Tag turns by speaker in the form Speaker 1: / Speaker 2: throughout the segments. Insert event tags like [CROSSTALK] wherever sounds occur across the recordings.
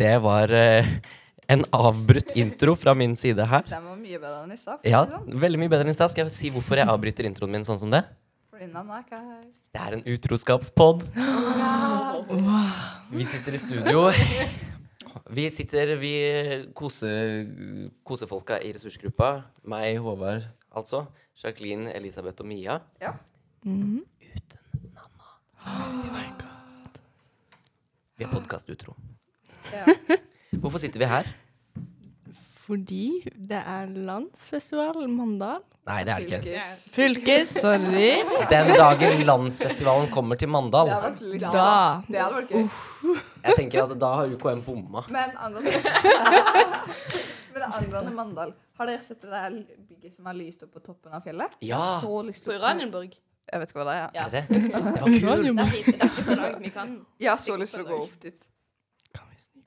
Speaker 1: det var eh, en avbrutt intro fra min side her.
Speaker 2: Den var mye bedre enn i stad. for å
Speaker 1: Ja,
Speaker 2: si det sånn.
Speaker 1: veldig mye bedre enn i stad. Skal jeg si hvorfor jeg avbryter introen min sånn som det?
Speaker 2: Fordi den er ikke her.
Speaker 1: Det er en utroskapspod. Vi sitter i studio. Vi sitter, vi koser kosefolka i ressursgruppa. Meg, Håvard, altså. Jacqueline, Elisabeth og Mia.
Speaker 2: Ja.
Speaker 1: Vi er podkastutro.
Speaker 2: Ja.
Speaker 1: Hvorfor sitter vi her?
Speaker 3: Fordi det er landsfestival Mandal.
Speaker 1: Nei, det er det ikke.
Speaker 2: Fylkes.
Speaker 3: Fylke, sorry.
Speaker 1: Den dagen landsfestivalen kommer til Mandal.
Speaker 2: Det hadde vært litt
Speaker 3: Da.
Speaker 2: Det hadde vært gøy.
Speaker 1: Jeg tenker at da har UKM bomma.
Speaker 2: Men angående
Speaker 1: [LAUGHS]
Speaker 2: Men angående Mandal, har dere sett det der bygget som er lyst opp på toppen av fjellet?
Speaker 1: Ja.
Speaker 2: Så lyst
Speaker 4: På
Speaker 2: opp.
Speaker 4: Uranienborg.
Speaker 2: Jeg vet ikke hva det er.
Speaker 4: Ja.
Speaker 1: Er det det?
Speaker 2: [LAUGHS]
Speaker 1: Det var kult.
Speaker 4: Det er hit- det er ikke så langt vi kan.
Speaker 2: Jeg har så lyst til å gå opp dit.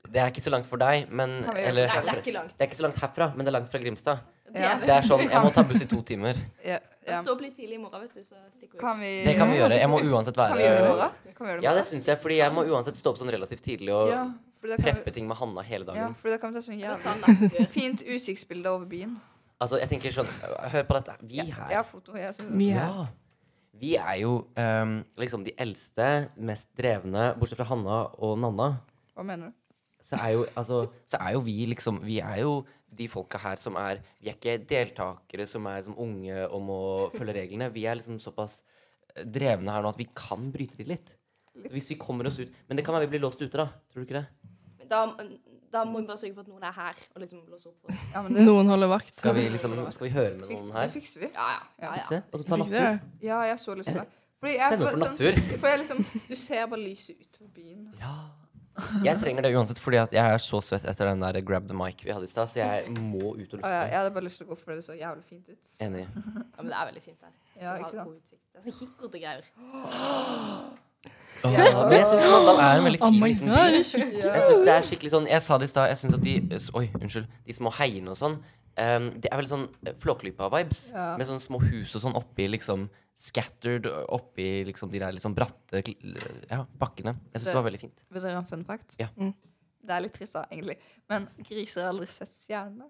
Speaker 1: Det er ikke så langt for deg, men
Speaker 2: Kan vi gjøre
Speaker 1: Eller
Speaker 4: Nei, det er
Speaker 1: herfra.
Speaker 4: ikke langt.
Speaker 1: Det er ikke så langt herfra, men det er langt fra
Speaker 2: [LAUGHS]
Speaker 1: Grimstad.
Speaker 4: Det er
Speaker 1: Det
Speaker 4: det.
Speaker 1: er sånn, Jeg må ta buss i to timer.
Speaker 2: Ja, ja.
Speaker 4: Jeg står opp litt tidlig i morgen, vet du, så stikker vi ut.
Speaker 2: Kan vi
Speaker 1: Det kan vi gjøre. Jeg må uansett
Speaker 2: Kan vi gjøre det i
Speaker 1: være
Speaker 2: morgen? Kan vi gjøre det i
Speaker 1: Ja, det
Speaker 2: morgen?
Speaker 1: syns jeg, fordi jeg må uansett stå opp sånn relativt tidlig og
Speaker 2: Ja, for da kan
Speaker 1: preppe
Speaker 2: vi,
Speaker 1: ting med Hanna hele
Speaker 2: ja,
Speaker 1: dagen.
Speaker 2: for da kan vi ta sånn
Speaker 4: Ta en
Speaker 2: jævlig
Speaker 4: natttur.
Speaker 2: [LAUGHS] fint utsiktsbilde over byen.
Speaker 1: Altså, jeg tenker sånn Hør på dette. Vi
Speaker 2: Jeg
Speaker 1: her.
Speaker 2: har foto. Jeg synes
Speaker 3: Vi er
Speaker 1: Ja. Vi er jo ehm, liksom de eldste, mest drevne, bortsett fra Hanna og Nanna.
Speaker 2: Hva mener du?
Speaker 1: så er jo, altså, så er jo vi liksom Vi er jo de folka her som er Vi er ikke deltakere som er som unge og må følge reglene. Vi er liksom såpass drevne her nå at vi kan bryte de litt. Hvis vi kommer oss ut Men det kan være vi blir låst ute, da. Tror du ikke det?
Speaker 4: Men Da, da må vi bare sørge for at noen er her og liksom låser opp for oss.
Speaker 2: Ja, men det,
Speaker 3: Noen holder vakt.
Speaker 1: Skal vi liksom Skal vi høre med noen
Speaker 2: det
Speaker 1: her?
Speaker 2: fikser vi.
Speaker 4: Ja, ja. ja, ja.
Speaker 1: Fikse? Og så ta
Speaker 3: Fikser
Speaker 1: natttur?
Speaker 3: det.
Speaker 2: Ja, jeg har så lyst til det. Fordi jeg,
Speaker 1: Eh, Stemmer for
Speaker 2: [LAUGHS] sånn-
Speaker 1: natttur.
Speaker 2: For jeg liksom, du ser bare lyset utover byen.
Speaker 1: Ja. Jeg trenger det uansett, fordi at jeg er så svett etter den der grab the mic vi hadde i stad, så jeg må ut og
Speaker 2: Å ja, jeg
Speaker 1: lufte.
Speaker 2: hadde bare lyst til å gå opp, for det så jævlig fint ut.
Speaker 1: Enig.
Speaker 4: ja men det er veldig fint her.
Speaker 2: Ja,
Speaker 4: Vi har
Speaker 2: ikke sant?
Speaker 4: god utsikt. Det er sånn kikkert og greier.
Speaker 1: Ja, men jeg syns Mandal er en veldig
Speaker 3: Oh
Speaker 1: fin
Speaker 3: my
Speaker 1: liten by.
Speaker 3: gosh.
Speaker 1: Jeg synes det er skikkelig sånn Jeg sa det i stad. Jeg synes at de s- Oi, unnskyld. De små heiene og sånn. ehm, det er veldig sånn eh, Flåklypa-vibes.
Speaker 2: Ja.
Speaker 1: Med sånne små hus og sånn oppi liksom Scattered oppi liksom de der litt sånn bratte kl- ja, bakkene. Jeg syns det var veldig fint.
Speaker 2: Vil dere ha en fun fact?
Speaker 1: Ja.
Speaker 3: Mm.
Speaker 2: Det er litt trist, da, egentlig. Men griser har aldri sett stjernene.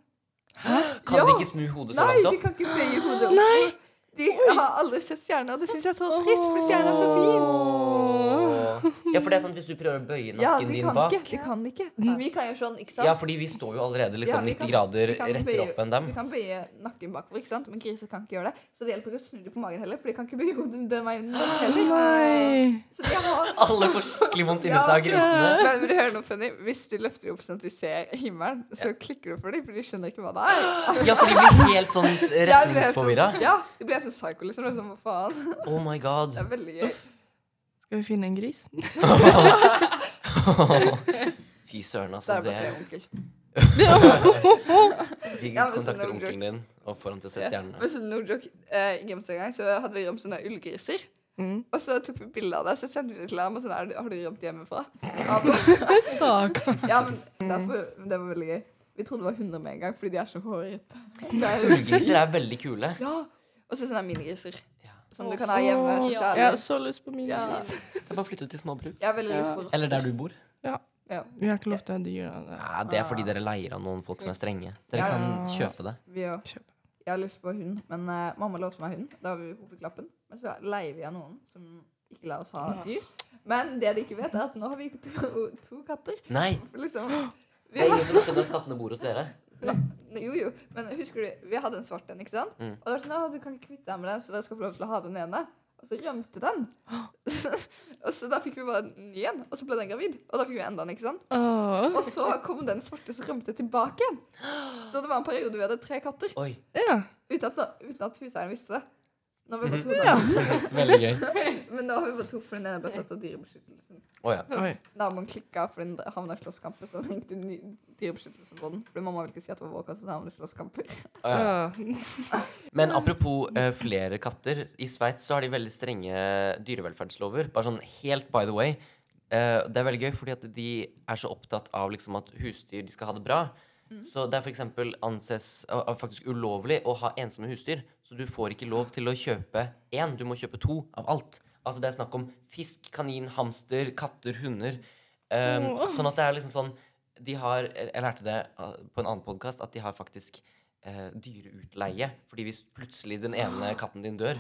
Speaker 1: Kan
Speaker 2: Ja!
Speaker 1: de ikke snu hodet så
Speaker 2: Nei,
Speaker 1: langt
Speaker 2: de
Speaker 1: opp?
Speaker 2: kan ikke bøye hodet opp. De har aldri sett stjerner. Det syns jeg er så trist, for stjerner er så fint.
Speaker 1: Åh. Ja, for det er sant hvis du prøver å bøye nakken
Speaker 2: Ja, de
Speaker 1: din
Speaker 2: kan
Speaker 1: bak.
Speaker 2: ikke. De kan ikke. Vi kan gjøre sånn, ikke sant?
Speaker 1: Ja, fordi vi står jo allerede liksom
Speaker 2: Ja, vi
Speaker 1: 90
Speaker 2: kan-
Speaker 1: grader
Speaker 2: vi kan
Speaker 1: rettere
Speaker 2: bøye-
Speaker 1: opp enn dem.
Speaker 2: Vi kan bøye nakken bakover, ikke sant? men griser kan ikke gjøre det. Så det hjelper ikke å snu dem på magen heller, for de kan ikke bøye hodet den veien heller.
Speaker 3: Nei.
Speaker 2: Så de har
Speaker 1: Alle får skikkelig vondt inni seg av grisene.
Speaker 2: Ja, men vil du høre noe funny? Hvis du løfter dem opp sånn at de ser himmelen, så klikker du for dem, for de skjønner ikke hva det
Speaker 1: [GASPS]
Speaker 2: er.
Speaker 1: Ja, for de blir helt sånn s-
Speaker 2: Ja, det blir helt
Speaker 1: retningsforvirra.
Speaker 2: sånn- Ja, de blir helt sånn psycho, liksom. Det er sånn, hva faen?
Speaker 1: Oh my god.
Speaker 2: Det er veldig gøy.
Speaker 3: Skal vi finne en gris?
Speaker 1: Fy søren, altså.
Speaker 2: Så er det
Speaker 1: Det
Speaker 2: bare å se onkel.
Speaker 1: Vi
Speaker 2: Ja, men så
Speaker 1: kontakter
Speaker 2: no
Speaker 1: onkelen din og får han til å se
Speaker 2: Ja. [LAUGHS]
Speaker 1: stjernene.
Speaker 2: Men så no joke, eh, i Grømsø en gang så hadde vi rømt sånne ullgriser.
Speaker 3: Mm.
Speaker 2: Og så tok vi bilde av det, så sendte vi det til ham. Og sånn, er det- har du rømt hjemmefra?
Speaker 3: Stakkar.
Speaker 2: Ja, men derfor, men det var veldig gøy. Vi trodde det var hunder med en gang, fordi de er så hårete. Det er-
Speaker 1: Ullgriser er veldig kule.
Speaker 2: [LAUGHS] Ja. Og så sånne minigriser.
Speaker 1: Ja.
Speaker 2: Som du kan ha hjemme. som
Speaker 4: Ja.
Speaker 2: kjæledyr.
Speaker 3: Jeg har så lyst på min
Speaker 2: Ja.
Speaker 3: gris.
Speaker 1: Jeg bare flyttet til småbruk.
Speaker 2: Jeg er veldig lyst på rotter.
Speaker 1: Eller der du bor.
Speaker 2: Ja,
Speaker 3: Vi har ikke lov til å ha dyr. da.
Speaker 1: Ja, det er fordi dere leier av noen folk som er strenge. Dere
Speaker 2: Ah. Ja.
Speaker 1: kan kjøpe det.
Speaker 2: vi òg.
Speaker 3: Kjøp.
Speaker 2: Jeg har lyst på hund, men eh, mamma lovte meg hund. Da har vi hovedklappen. Men så leier vi av noen som ikke lar oss ha dyr. Men det de ikke vet, er at nå har vi to, to katter.
Speaker 1: Nei!
Speaker 2: Liksom. Vi
Speaker 1: Det er
Speaker 2: har,
Speaker 1: ingen som skjønner at kattene bor hos dere.
Speaker 2: jo, jo. Men husker du, vi hadde en svart en, ikke sant?
Speaker 1: Mm.
Speaker 2: Og det var sånn, «Å, du kan ikke kvitte deg med den, så dere skal få lov til å ha den ene. Og så rømte den. og så da fikk vi bare en ny en, og så ble den gravid. Og da fikk vi enda en, ikke sant?
Speaker 3: Åh.
Speaker 2: Og så kom den svarte som rømte tilbake igjen. Så det var en periode vi hadde tre katter.
Speaker 1: Oi,
Speaker 3: Ja.
Speaker 2: Uten at, uten at huseieren visste det. Nå har vi bare to
Speaker 3: Ja.
Speaker 1: veldig gøy.
Speaker 2: Men nå har vi bare to for den ene ble tatt av dyrebeskyttelsen.
Speaker 1: Å ja.
Speaker 3: Oi.
Speaker 2: Naboen klikka for den havna i slåsskamper, så han ringte ny- dyrebeskyttelsen på den. Fordi mamma ville ikke si at det var vår katt, så den havna i slåsskamper.
Speaker 1: Å ja.
Speaker 3: Åh.
Speaker 1: Men apropos eh, flere katter. I Sveits så har de veldig strenge dyrevelferdslover. Bare sånn helt by the way. Eh, det er veldig gøy, fordi at de er så opptatt av liksom, at husdyr de skal ha det bra. Så det er for eksempel anses og- og faktisk ulovlig å ha ensomme husdyr. Så du får ikke lov til å kjøpe én, du må kjøpe to av alt. Altså Det er snakk om fisk, kanin, hamster, katter, hunder. Eh,
Speaker 3: Åh.
Speaker 1: Sånn at det er liksom sånn de har, Jeg lærte det eh, på en annen podkast at de har faktisk eh, dyreutleie. Fordi hvis plutselig den ene
Speaker 3: Ah.
Speaker 1: katten din
Speaker 3: [GASPS]
Speaker 1: dør,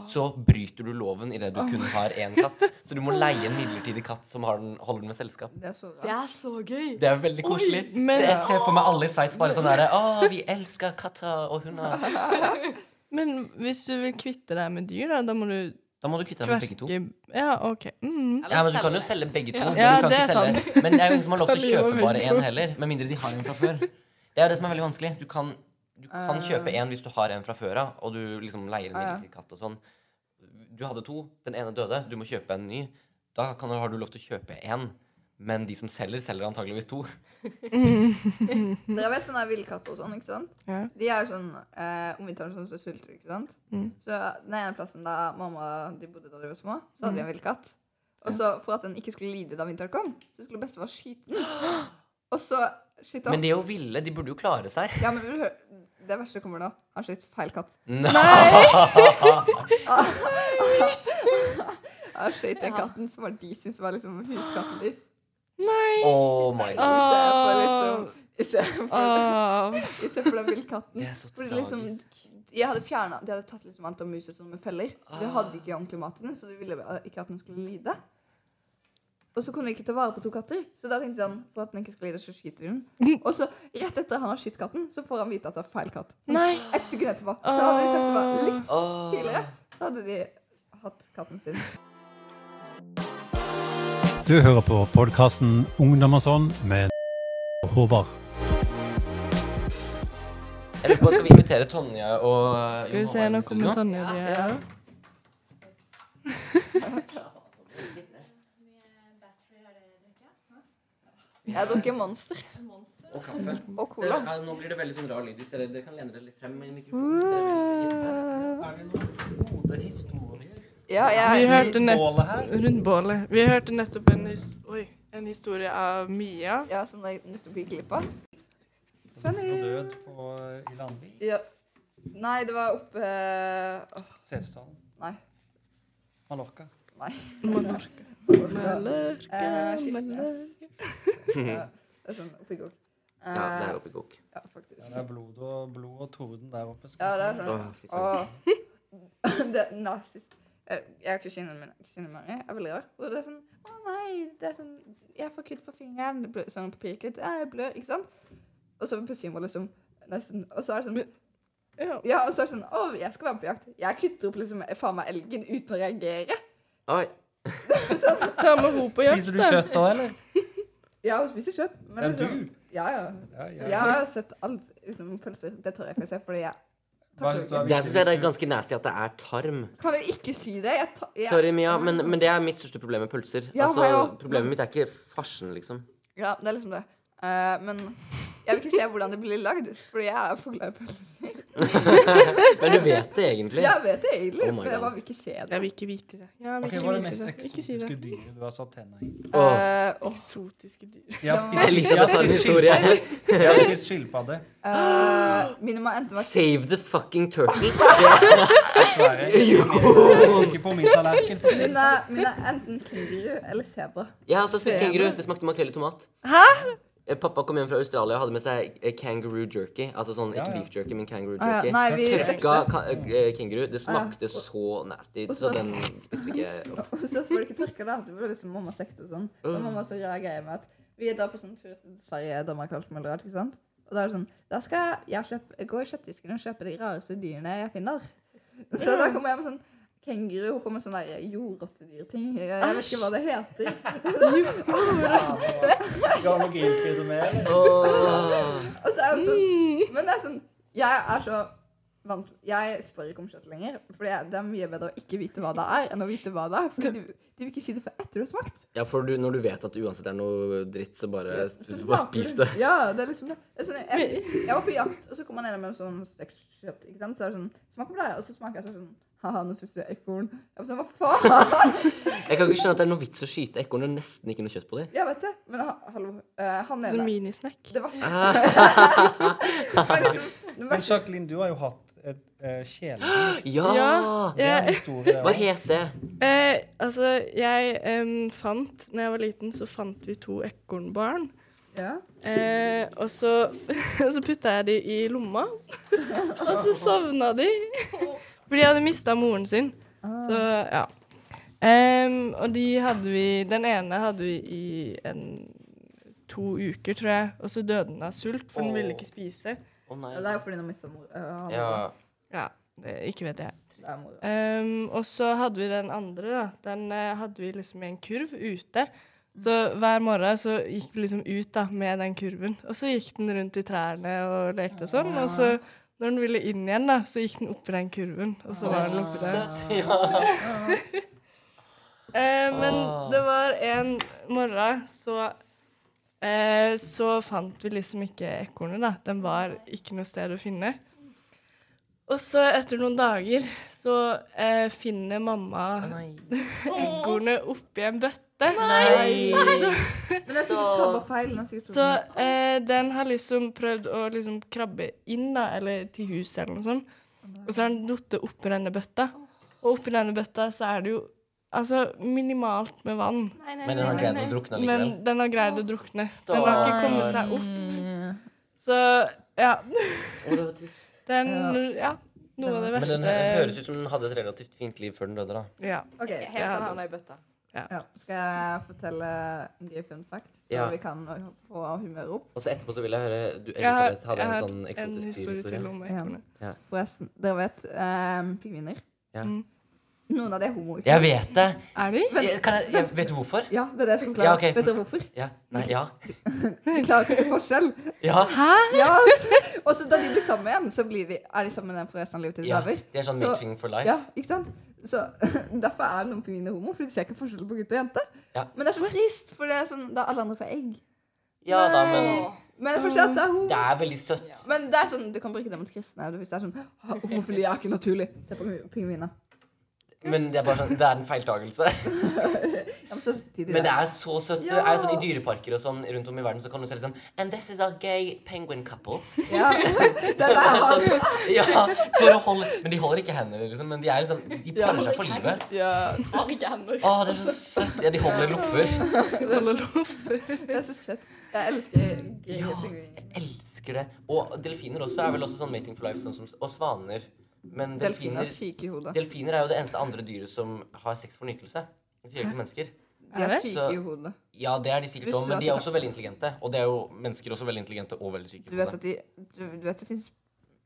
Speaker 1: så bryter du loven idet du kun har én katt. Så
Speaker 3: [LAUGHS]
Speaker 1: du må leie en midlertidig katt som har den, holder den med selskap.
Speaker 2: Det er så rart.
Speaker 4: Det er så gøy!
Speaker 1: Det er veldig koselig.
Speaker 3: men-
Speaker 1: så jeg ser for meg alle i Sveits
Speaker 3: [LAUGHS]
Speaker 1: bare sånn derre Å, vi elsker katter og hunder.
Speaker 3: Men hvis du vil kvitte deg med dyr, da, da må du
Speaker 1: Da må du kvitte deg med begge to.
Speaker 3: kverke Ja, OK. Mm.
Speaker 1: Ja, men Du kan jo selge begge to.
Speaker 3: Ja.
Speaker 1: men
Speaker 3: Ja,
Speaker 1: du kan
Speaker 3: det
Speaker 1: ikke
Speaker 3: er
Speaker 1: selge. Men det er jo ingen som har lov til å
Speaker 3: Kan leve
Speaker 1: kjøpe
Speaker 3: med
Speaker 1: bare
Speaker 3: to.
Speaker 1: én heller. Med mindre de har en fra før. Det er jo det som er veldig vanskelig. Du kan, du kan
Speaker 3: Ah.
Speaker 2: Eh.
Speaker 1: kjøpe én hvis du har en fra før av, og du liksom leier en
Speaker 2: Ja, ja.
Speaker 1: midlertidig katt og sånn. Du hadde to. Den ene døde. Du må kjøpe en ny. Da kan, har du lov til å kjøpe én. Men de som selger, selger antageligvis to.
Speaker 2: Dere vet sånne villkatter og sånn, ikke sant?
Speaker 3: Ja.
Speaker 2: De er jo sånn eh, omvittalen som så sulter, ikke sant?
Speaker 3: Mm.
Speaker 2: Så den ene plassen da mamma de bodde da de var små, så hadde de en villkatt. Og så for at den ikke skulle lide da vinteren kom, så skulle bestefar skyte den. Og så skyter han
Speaker 1: Men de er jo ville. De burde jo klare seg.
Speaker 2: Ja, men vil du høre? Det verste kommer nå. Han skyter feil katt. Han skjøt den
Speaker 4: Ja.
Speaker 2: katten som var de syntes var liksom huskatten
Speaker 3: [GASPS]
Speaker 2: deres.
Speaker 3: Nei!
Speaker 1: Oh my god.
Speaker 2: liksom-
Speaker 3: Åh.
Speaker 2: Istedenfor
Speaker 3: Åh.
Speaker 2: den villkatten.
Speaker 1: Det er så
Speaker 2: Fordi liksom,
Speaker 1: tragisk.
Speaker 2: jeg hadde fjernet, De hadde tatt liksom alt av muset som med feller. Så de hadde
Speaker 3: Ah.
Speaker 2: ikke ordentlig mat til den, så de ville eh, ikke at den skulle lide. Og så kunne de ikke ta vare på to katter, så da tenkte han for at den ikke skal lide, så skyter de
Speaker 3: [LAUGHS]
Speaker 2: den. Og så rett etter han har skutt katten, så får han vite at det er feil katt.
Speaker 3: Nei.
Speaker 2: Et sekund etterpå. Så hadde de sagt det var litt
Speaker 1: Åh.
Speaker 2: tidligere, så hadde de hatt katten sin.
Speaker 5: Du hører på podkasten Ungdom og sånn med Håvard.
Speaker 1: Jeg lurer på, Skal vi invitere Tonje og
Speaker 3: Skal vi se, nå kommer Tonje. og de her.
Speaker 2: Jeg drukker Monster
Speaker 1: Og kaffe.
Speaker 2: og
Speaker 1: Se,
Speaker 2: Cola.
Speaker 1: ja, nå blir det veldig sånn rar lyd. Hvis dere, dere kan lene dere litt frem med mikrofonen. hvis dere vil. Er det noen gode historier
Speaker 2: Ja,
Speaker 3: Vi
Speaker 2: jeg,
Speaker 3: hørte nett
Speaker 1: bålet her?
Speaker 3: rundt bålet. Vi hørte nettopp en, his Oi, en historie av Mia.
Speaker 2: ja, som jeg nettopp gikk glipp av. Funny.
Speaker 6: død på, i Landvik.
Speaker 2: Ja. Nei, det var oppe åh,
Speaker 6: Setesdalen.
Speaker 2: Nei.
Speaker 6: Mallorca.
Speaker 3: Mallorca.
Speaker 2: Eh, shit, yes. Ja, Det er sånn oppi går. Eh,
Speaker 1: Ja, det er oppi kok.
Speaker 2: ja, faktisk.
Speaker 6: Ja, det er blod og, blod og torden der oppe. skal
Speaker 2: Ja,
Speaker 6: vi
Speaker 2: det
Speaker 6: si.
Speaker 2: er sånn.
Speaker 1: Åh, fy søren.
Speaker 2: Åh. [LAUGHS] Det er nazist. Jeg jeg er kusinen min. Kusinen Mari er veldig rar. Og det er sånn Å nei, det er sånn Jeg får kutt på fingeren. Det blør, sånn papirkutt. «Æ, Jeg blør. Ikke sant? Og så plutselig må liksom nesten Og så er det sånn
Speaker 3: Ja.
Speaker 2: Ja, og så er det sånn Å, jeg skal være på jakt. Jeg kutter opp liksom faen meg elgen uten å reagere. [LAUGHS]
Speaker 1: Oi.
Speaker 3: Ta med henne på jakt,
Speaker 6: Spiser du
Speaker 3: da.
Speaker 6: kjøtt da, eller?
Speaker 2: sånn, Ja, hun spiser kjøtt. Men
Speaker 6: Ja,
Speaker 2: liksom,
Speaker 6: du?
Speaker 2: ja, ja.
Speaker 6: Ja,
Speaker 2: Jeg har sett alt utenom pølser. Det tør jeg ikke å se, fordi jeg
Speaker 6: Hva synes du er
Speaker 1: Der
Speaker 6: viktig
Speaker 1: syns jeg det
Speaker 6: hvis
Speaker 1: er
Speaker 6: du-
Speaker 1: ganske nasty at det er tarm.
Speaker 2: Kan jo ikke si det. Jeg ta, jeg,
Speaker 1: Sorry, Mia, men, men det er mitt største problem med pølser.
Speaker 2: Ja,
Speaker 1: altså,
Speaker 2: hva da?
Speaker 1: Problemet mitt er ikke farsen, liksom.
Speaker 2: Ja, det er liksom det. Eh, men jeg vil ikke se hvordan det blir lagd, fordi jeg er for glad i pølser.
Speaker 1: Men du vet det egentlig.
Speaker 2: Jeg vet det egentlig,
Speaker 1: Oh my
Speaker 2: men jeg
Speaker 1: God.
Speaker 2: bare vil ikke se det.
Speaker 3: Jeg vil ikke vite det. Jeg vil
Speaker 6: Ok,
Speaker 3: ikke
Speaker 6: Hva er det
Speaker 3: vite
Speaker 6: mest
Speaker 3: det. Ikke si
Speaker 6: eksotiske
Speaker 3: det.
Speaker 6: dyret du har satt tenna i?
Speaker 1: Åh.
Speaker 2: Eh, og,
Speaker 3: Eksotiske dyr.
Speaker 6: Jeg har spist, jeg har
Speaker 1: Elisabeth har en
Speaker 6: spist
Speaker 1: historie.
Speaker 6: skilpadde. Jeg har spist skilpadde.
Speaker 2: eh, mine må enten være
Speaker 1: Save the fucking turtles. [LAUGHS] Det,
Speaker 6: Dessverre. Ikke på- Ikke på min tallerken. for å si det
Speaker 2: mine,
Speaker 6: sånn.
Speaker 2: mine er enten kenguru eller sebra.
Speaker 1: jeg har også spist kenguru. Det smakte makrell i tomat. Eh, Pappa kom hjem fra Australia og hadde med seg eh, kangaroo jerky. Altså sånn,
Speaker 6: Ja,
Speaker 1: ikke
Speaker 6: ja.
Speaker 1: beef jerky, men kangaroo
Speaker 2: Ah, ja.
Speaker 1: jerky.
Speaker 2: Nei, vi Ah.
Speaker 1: Tørka ka eh, kenguru. Det smakte så nasty,
Speaker 2: Og
Speaker 1: så
Speaker 2: så-
Speaker 1: den spiste vi
Speaker 2: [LAUGHS]
Speaker 1: ikke opp.
Speaker 2: Og så var det ikke tørka da. Det var liksom mamma sekte og sånn. Og mamma så rar greie med at vi er da på sånn tur til Sverige, Danmark, alt mulig rart, ikke sant? Og da er det sånn Da skal jeg kjøpe, gå i kjøttdisken og kjøpe de rareste dyrene jeg finner. Så da kommer jeg med sånn kenguru. Hun kommer med sånn der jordrottedyrting. Jeg jeg vet ikke hva det heter.
Speaker 6: Skal ha noe grillkrydder med, eller?
Speaker 1: Åh.
Speaker 2: Og så er hun sånn Men det er sånn Jeg er så vant Jeg spør ikke om kjøtt lenger. For det er- det er mye bedre å ikke vite hva det er, enn å vite hva det er. For de, de vil ikke si det før etter du har smakt.
Speaker 1: Ja, for du, når du vet at det uansett er noe dritt, så bare,
Speaker 2: Så
Speaker 1: Eh, bare
Speaker 2: smaker
Speaker 1: spis
Speaker 2: det.
Speaker 1: det.
Speaker 2: Ja, det er liksom det. det er sånn, jeg, jeg var på jakt, og så kom han gjennom med sånn stekt kjøtt. Ikke sant? Så er det sånn, smaker på det, her», og så smaker jeg så er det sånn Haha, nå spiser jeg ekorn. Jeg var sånn, hva faen? [LAUGHS]
Speaker 1: Jeg kan ikke skjønne at det er noe vits å skyte ekorn når det er nesten ikke noe kjøtt på
Speaker 2: [LAUGHS]
Speaker 1: dem.
Speaker 2: Jeg vet det, men ha, hallo. eh, han
Speaker 3: Som
Speaker 2: ene
Speaker 3: Altså minisnack.
Speaker 2: Det var Men liksom, det
Speaker 6: Men
Speaker 2: var
Speaker 6: Jacqueline, du har jo hatt et uh, kjæledyr.
Speaker 1: Ja!
Speaker 3: Ja.
Speaker 6: Det er en
Speaker 3: Jeg,
Speaker 6: historie, det
Speaker 1: Hva
Speaker 6: også.
Speaker 1: het det?
Speaker 3: eh, altså, jeg em, fant Når jeg var liten, så fant vi to ekornbarn.
Speaker 2: ja.
Speaker 3: Eh, og så, [LAUGHS] og så putta jeg de i lomma, og så sovna de. For de hadde mista moren sin. Så ja. Em, og de hadde vi Den ene hadde vi i en, to uker, tror jeg. Og så døde den av sult, for den ville ikke spise.
Speaker 1: Å nei.
Speaker 2: Ja, Det er jo fordi hun har mista mor. øh, han-
Speaker 1: Ja.
Speaker 3: Ja, det, Ikke vet jeg.
Speaker 2: det er mor.
Speaker 3: Ehm, og så hadde vi den andre, da. Den eh, hadde vi liksom i en kurv ute. Så hver morgen så gikk vi liksom ut da, med den kurven. Og så gikk den rundt i trærne og lekte og sånn. Og så når den ville inn igjen, da, så gikk den oppi den kurven. Og så var den oppi der.
Speaker 1: Ja.
Speaker 3: Eh, men
Speaker 1: Ah.
Speaker 3: det var en morgen så eh, Så fant vi liksom ikke ekornet, da. Den var ikke noe sted å finne. Og så, etter noen dager, så eh, finner mamma
Speaker 1: Nei.
Speaker 3: ekornet oppi en bøtte.
Speaker 2: Men det er sikkert krabba feil. den er sikkert
Speaker 3: Så
Speaker 2: sånn-
Speaker 3: eh, den har liksom prøvd å liksom krabbe inn, da, eller til huset eller noe sånt. Og så har den falt oppi denne bøtta. Og oppi denne bøtta så er det jo altså minimalt med vann.
Speaker 4: Nei, nei,
Speaker 1: Men den har greid å drukne
Speaker 3: Men
Speaker 1: likevel.
Speaker 3: den har greid å drukne. Den har ikke kommet seg opp.
Speaker 2: Mm.
Speaker 3: Så ja. Den Ja. Noe av det
Speaker 1: Men
Speaker 3: verste
Speaker 1: den høres ut som den hadde et relativt fint liv før den døde, da.
Speaker 3: Ja.
Speaker 2: OK.
Speaker 4: Helt sånn han er i bøtta.
Speaker 2: Ja. Skal jeg fortelle en gøy fun fact, så
Speaker 1: Ja.
Speaker 2: vi kan få humøret opp?
Speaker 1: Og så etterpå så vil jeg høre Du,
Speaker 3: Jeg har,
Speaker 1: Elisabeth, hadde
Speaker 3: jeg har
Speaker 1: en sånn
Speaker 3: en
Speaker 1: eksotisk
Speaker 3: historie
Speaker 1: dyrhistorie.
Speaker 3: til om ekornet.
Speaker 2: Forresten, dere vet um, pingviner?
Speaker 1: Ja.
Speaker 3: Mm.
Speaker 2: Noen av de er homoer.
Speaker 1: Jeg vet det!
Speaker 3: Er de?
Speaker 1: Jeg, kan jeg, jeg, vet du hvorfor?
Speaker 2: Ja, det er det jeg skal forklare.
Speaker 1: Ja, ok.
Speaker 2: Vet dere hvorfor?
Speaker 1: Ja. Nei, ja.
Speaker 2: De klarer ikke å se forskjell.
Speaker 1: ja.
Speaker 2: Ja, og så da de blir sammen igjen, så blir de, er de sammen igjen for resten av livet til de
Speaker 1: ja.
Speaker 2: dauer.
Speaker 1: De er sånn
Speaker 2: Så-
Speaker 1: matching for life.
Speaker 2: Ja, ikke sant? Så [LAUGHS] Derfor er noen pingviner homo, for de ser ikke forskjell på gutt og jente.
Speaker 1: Ja.
Speaker 2: Men det er så trist, for det er sånn, da alle andre får egg.
Speaker 1: Ja da, men
Speaker 2: Men det er forskjell at det er homo.
Speaker 1: det er veldig søtt.
Speaker 2: Men det er sånn, du kan bruke det mot kristne hvis det er sånn «Å, Homofili er ikke naturlig. Se på pingviner.
Speaker 1: Men det er bare sånn, det er en
Speaker 3: [LAUGHS]
Speaker 1: feiltagelse.
Speaker 2: Ja, men samtidig
Speaker 1: Men det er så søtt. Det
Speaker 2: Ja.
Speaker 1: er jo sånn I dyreparker og sånn rundt om i verden så kan du se det sånn And this is a gay penguin couple.
Speaker 2: ja. [LAUGHS] det er han.
Speaker 1: sånn, [LAUGHS] Ja, for å holde Men de holder ikke hender, liksom. Men de er liksom De
Speaker 2: Ja.
Speaker 1: parer seg for livet.
Speaker 4: Har ikke hender.
Speaker 1: Å, det er så søtt. Ja, de holder lopper.
Speaker 2: Det er så søtt. Jeg elsker gay
Speaker 1: Ja.
Speaker 2: pingviner.
Speaker 1: Elsker det. Og delfiner også er vel også sånn mating for life, sånn som Og svaner. Men delfiner
Speaker 2: Delfiner er syke i hodet.
Speaker 1: Delfiner er jo det eneste andre dyret som har sex for nytelse. De gjør ikke mennesker.
Speaker 2: De er
Speaker 3: det?
Speaker 2: syke
Speaker 1: Så-
Speaker 2: i hodet.
Speaker 1: Ja, det er de sikkert
Speaker 2: Visste
Speaker 1: òg,
Speaker 2: du
Speaker 1: men
Speaker 2: at
Speaker 1: de er
Speaker 2: det-
Speaker 1: også veldig intelligente. Og det er jo mennesker også veldig intelligente og veldig syke. på
Speaker 2: Du vet
Speaker 1: det.
Speaker 2: at de Du, du vet det fins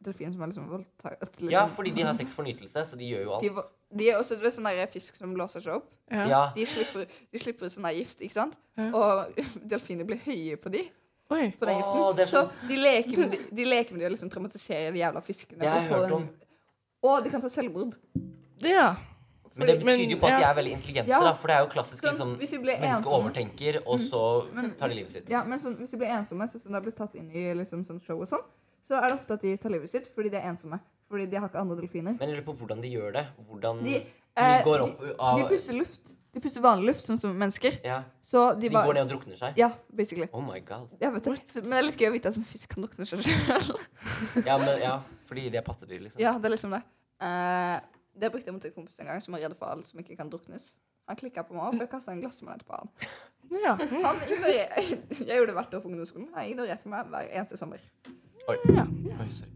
Speaker 2: delfiner som er liksom voldtatt liksom.
Speaker 1: Ja, fordi de har sex for nytelse, så de gjør jo
Speaker 2: de,
Speaker 1: alt.
Speaker 2: vo- de er også du vet, sånne der fisk som blåser seg opp.
Speaker 1: Ja,
Speaker 2: De slipper, de slipper ut sånn der gift, ikke sant?
Speaker 3: Ja.
Speaker 2: Og [LAUGHS] delfiner blir høye på de
Speaker 3: Oi.
Speaker 2: på
Speaker 1: Åh,
Speaker 2: den giften.
Speaker 1: det er
Speaker 2: Så
Speaker 1: sånn-
Speaker 2: de leker med de, de leker med de og liksom traumatiserer de jævla fiskene.
Speaker 1: det har jeg
Speaker 2: for å få
Speaker 1: hørt om.
Speaker 2: den- Og de kan ta selvmord.
Speaker 3: Ja.
Speaker 1: Men det
Speaker 3: Fordi- men-
Speaker 1: betyder jo på at de
Speaker 3: ja.
Speaker 1: er veldig intelligente,
Speaker 2: Ja.
Speaker 1: da. For det er jo klassisk
Speaker 2: Sånn,
Speaker 1: liksom
Speaker 2: hvis vi blir
Speaker 1: Mennesket
Speaker 2: ensomme
Speaker 1: overtenker, og så tar de livet sitt.
Speaker 2: Ja, men sånn, hvis de blir ensomme, så sånn de blir tatt inn i liksom, sånn show og sånn, så er det ofte at de tar livet sitt fordi de er ensomme. Fordi de har ikke andre
Speaker 1: Men
Speaker 2: delfiner.
Speaker 1: jeg lurer på hvordan de gjør det. Hvordan Mm. de,
Speaker 2: De, eh,
Speaker 1: går opp av
Speaker 2: De puster luft. De puster vanlig luft, sånn som mennesker.
Speaker 1: Ja,
Speaker 2: Så
Speaker 1: så
Speaker 2: de,
Speaker 1: de
Speaker 2: bare
Speaker 1: går ned og drukner seg.
Speaker 2: Ja, basically.
Speaker 1: Oh my god.
Speaker 2: Jeg vet det. Men det er litt gøy å vite at en fisk kan drukne seg selv. [LAUGHS]
Speaker 1: Ja, men, ja, fordi de er pattedyr, liksom.
Speaker 2: ja, det er liksom det. Eh, det brukte jeg mot en kompis en gang som var redd for alt som ikke kan druknes. Han klikka på meg, for jeg kasta en glassmanet på han.
Speaker 3: ja.
Speaker 2: han ignorer- [LAUGHS] jeg gjorde det hvert år på ungdomsskolen. Han ignorerte meg hver eneste sommer.
Speaker 1: Oi.
Speaker 3: Ja.
Speaker 1: Oi, sorry.